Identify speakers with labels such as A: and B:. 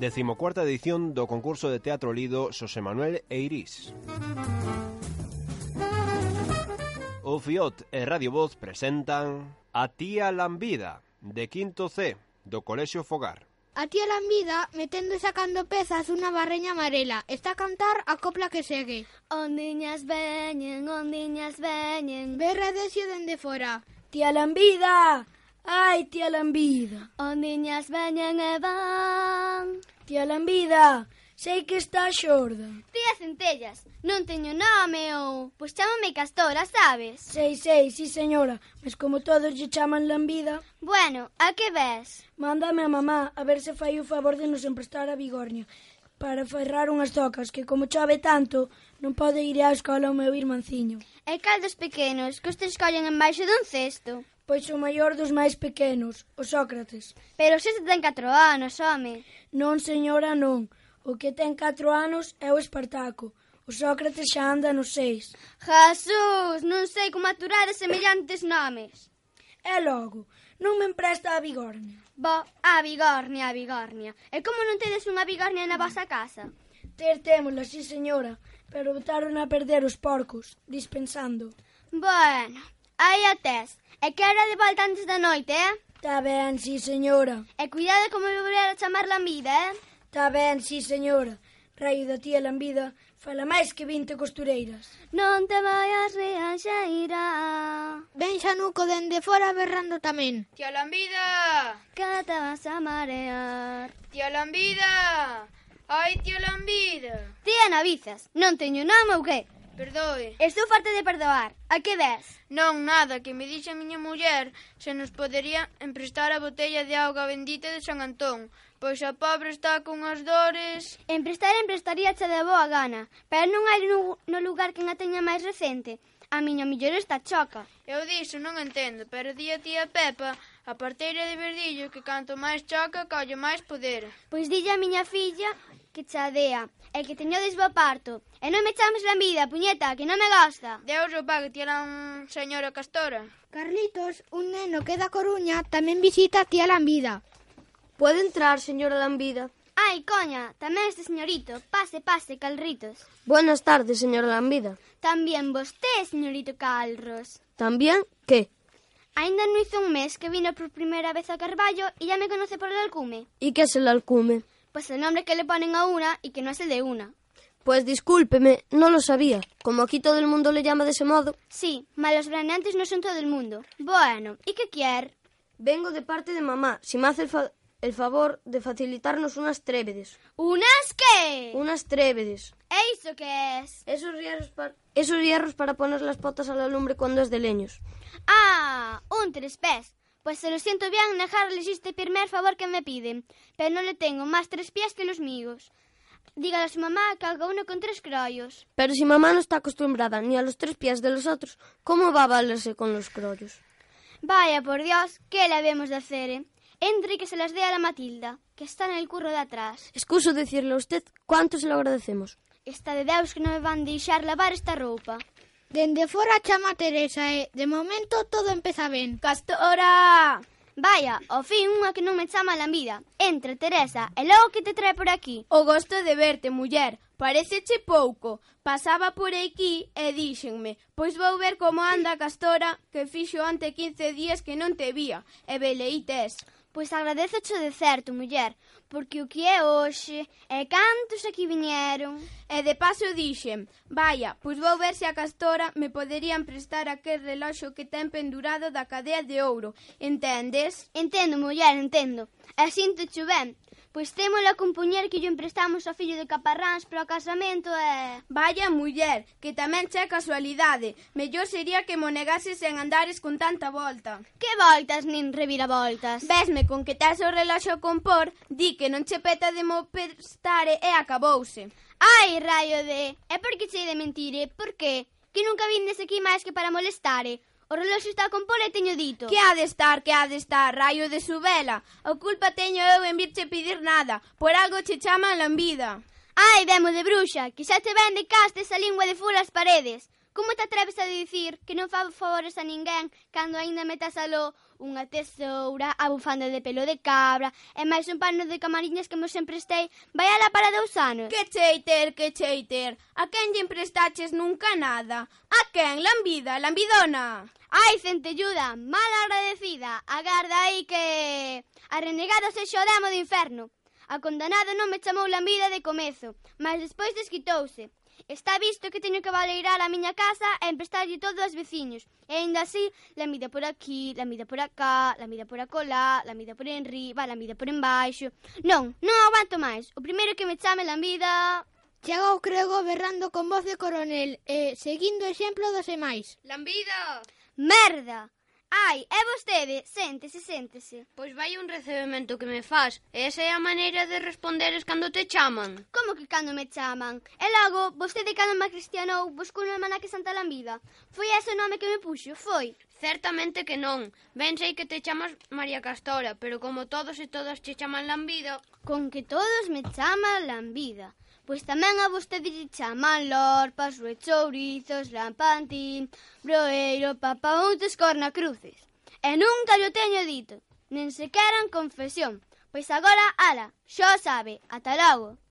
A: Decimocuarta edición do concurso de teatro lido Xosé Manuel Eirís. O Fiot e Radio Voz presentan A tía lambida de quinto C do Colexio Fogar.
B: A tía Lambida metendo e sacando pezas unha barreña amarela. Está a cantar a copla que segue.
C: Ondiñas veñen, ondiñas veñen.
B: Berra desio dende fora.
D: Tía Lambida! Ai, tía Lambida!
C: Ondiñas veñen e van.
D: Tía Lambida! Sei que está xorda.
E: Tía Centellas, non teño nome ou... Pois chámame Castora, sabes?
D: Sei, sei, sí señora, mas como todos lle chaman Lambida...
E: Bueno, a que ves?
D: Mándame a mamá a ver se fai o favor de nos emprestar a Bigornia para ferrar unhas tocas que como chove tanto non pode ir á escola o meu irmanciño.
E: E caldos pequenos que os te escollen embaixo dun cesto.
D: Pois o maior dos máis pequenos, o Sócrates.
E: Pero se ten 4 anos, home.
D: Non, señora, non. O que ten 4 anos é o Espartaco. O Sócrates xa anda nos seis.
E: Jesús, non sei como aturar a semellantes nomes.
D: E logo, non me empresta a bigornia.
E: Bo, a bigornia, a bigornia. E como non tedes unha bigornia na vosa casa?
D: Ter témola, sí señora, pero botaron a perder os porcos, dispensando.
E: Bueno, aí a tes. E que era de volta antes da noite, eh?
D: Tá ben, sí señora.
E: E cuidado como me volver a chamar lambida, eh?
D: Tá ben, sí señora. Raio da tía Lambida fala máis que 20 costureiras.
C: Non te vayas riaxeira.
B: Ven Xanuco dende fora berrando tamén.
F: Tía Lambida!
C: Que te vas a marear.
F: Tía Lambida! Ai, tía Lambida!
E: Tía Navizas, non teño nome ou que?
F: Perdoe.
E: Estou farta de perdoar. A que ves?
F: Non, nada, que me dixe a miña muller se nos podería emprestar a botella de auga bendita de San Antón, pois a pobre está cunhas dores...
E: Emprestar emprestaría che de boa gana, pero non hai no, no lugar que a teña máis recente. A miña millor está choca.
F: Eu diso non entendo, pero di a tía Pepa a parteira de verdillo que canto máis choca colle máis poder.
E: Pois dille a miña filla que chadea e que teñodes bo parto. E non me chames lambida, puñeta, que non me gosta.
F: Deus o pague, tía la señora Castora.
B: Carlitos, un neno que é da Coruña, tamén visita a tía Lambida.
G: Pode entrar, señora Lambida.
E: Ai, coña, tamén este señorito. Pase, pase, calritos.
G: Buenas tardes, señora Lambida.
E: Tamén vosté, señorito Calros.
G: También, que?
E: Ainda non hizo un mes que vino por primeira vez a Carballo e ya me conoce por el alcume.
G: ¿Y qué es el alcume?
E: Pois el nombre que le ponen a una y que no es el de una.
G: Pues discúlpeme, no lo sabía. Como aquí todo el mundo le llama de ese modo.
E: Sí, malos braneantes no son todo el mundo. Bueno, ¿y qué quier?
G: Vengo de parte de mamá, si me hace el, fa- el favor de facilitarnos unas trébedes.
E: Unas que...
G: Unas trébedes.
E: E iso que es?
G: Esos hierros, para... Esos hierros para poner las patas a la lumbre cuando es de leños.
E: Ah, un tres pés. Pois se lo siento bien negarles este primer favor que me piden, pero non le tengo máis tres pies que los míos. Dígale a su mamá que haga uno con tres croios.
G: Pero si mamá no está acostumbrada ni a los tres pies de los otros, ¿cómo va a valerse con los crollos?
E: Vaya por Dios, que la vemos de hacer, eh? Entre y que se las dé a la Matilda, que está en el curro de atrás.
G: Excuso decirle a usted cuánto se lo agradecemos.
E: Está de Deus que non me van deixar lavar esta roupa.
B: Dende fora chama a Teresa e, de momento, todo empeza ben.
E: Castora! Vaya, ao fin unha que non me chama a lambida. Entre, Teresa, e logo que te trae por aquí.
H: O gosto de verte, muller, pareceche pouco. Pasaba por aquí e díxenme, pois vou ver como anda a castora que fixo ante 15 días que non te vía, e veleí tes.
E: Pois agradezocho de certo, muller, porque o que é hoxe e cantos aquí viñeron.
H: E de paso dixen, vaya, pois vou ver se a castora me poderían prestar aquel reloxo que ten pendurado da cadea de ouro, entendes?
E: Entendo, muller, entendo. E sinto ben, Pois témola cun puñer que lle emprestamos ao fillo de Caparráns para o casamento e...
H: Vaya muller, que tamén che casualidade. Mellor sería que mo negases en andares con tanta volta.
E: Que voltas nin reviravoltas.
H: Vesme con que tes o reloxo con por, di que non che peta de mo prestare e acabouse.
E: Ai, raio de... É porque sei de mentire, por que? Que nunca vindes aquí máis que para molestare. O reloxo está con polo e teño dito.
H: Que ha de estar, que ha de estar, raio de su vela. A culpa teño eu en virche pedir nada, por algo che chaman lambida.
E: Ai, demo de bruxa, que xa te ven de cas desa lingua de fulas paredes. Como te atreves a dicir que non fa favores a ninguén cando aínda metas aló unha tesoura, a bufanda de pelo de cabra e máis un pano de camariñas que mos emprestei vai alá para dous anos?
H: Que cheiter, que cheiter, a quen lle emprestaches nunca nada? A quen, lambida, lambidona?
E: Ai, centelluda, mal agradecida, agarda aí que... A renegado se xo demo do inferno. A condenado non me chamou lambida de comezo, mas despois desquitouse. Está visto que teño que valeirar a miña casa e emprestarlle todo aos veciños. E aínda así, la mida por aquí, la mida por acá, la mida por acolá, la mida por enriba, la mida por embaixo... Non, non aguanto máis. O primeiro que me chame la mida...
B: Chega o crego berrando con voz de coronel e, seguindo o exemplo dos emais,
F: Lambida!
E: Merda! Ai, é vostede, séntese, séntese.
F: Pois vai un recebemento que me faz. Esa é a maneira de responderes cando te chaman.
E: Como que cando me chaman? E logo, vostede cando me cristianou, buscou no almanaque Santa Lambida. Foi ese o nome que me puxo, foi.
F: Certamente que non. Ben sei que te chamas María Castora, pero como todos e todas che chaman Lambida,
E: Con que todos me chaman Lambida. Pois tamén a vostede lle chaman lorpas, ruechourizos, lampantín, broeiro, papauntes, cornacruces. E nunca llo teño dito, nen sequera en confesión. Pois agora, ala, xo o sabe, ata logo.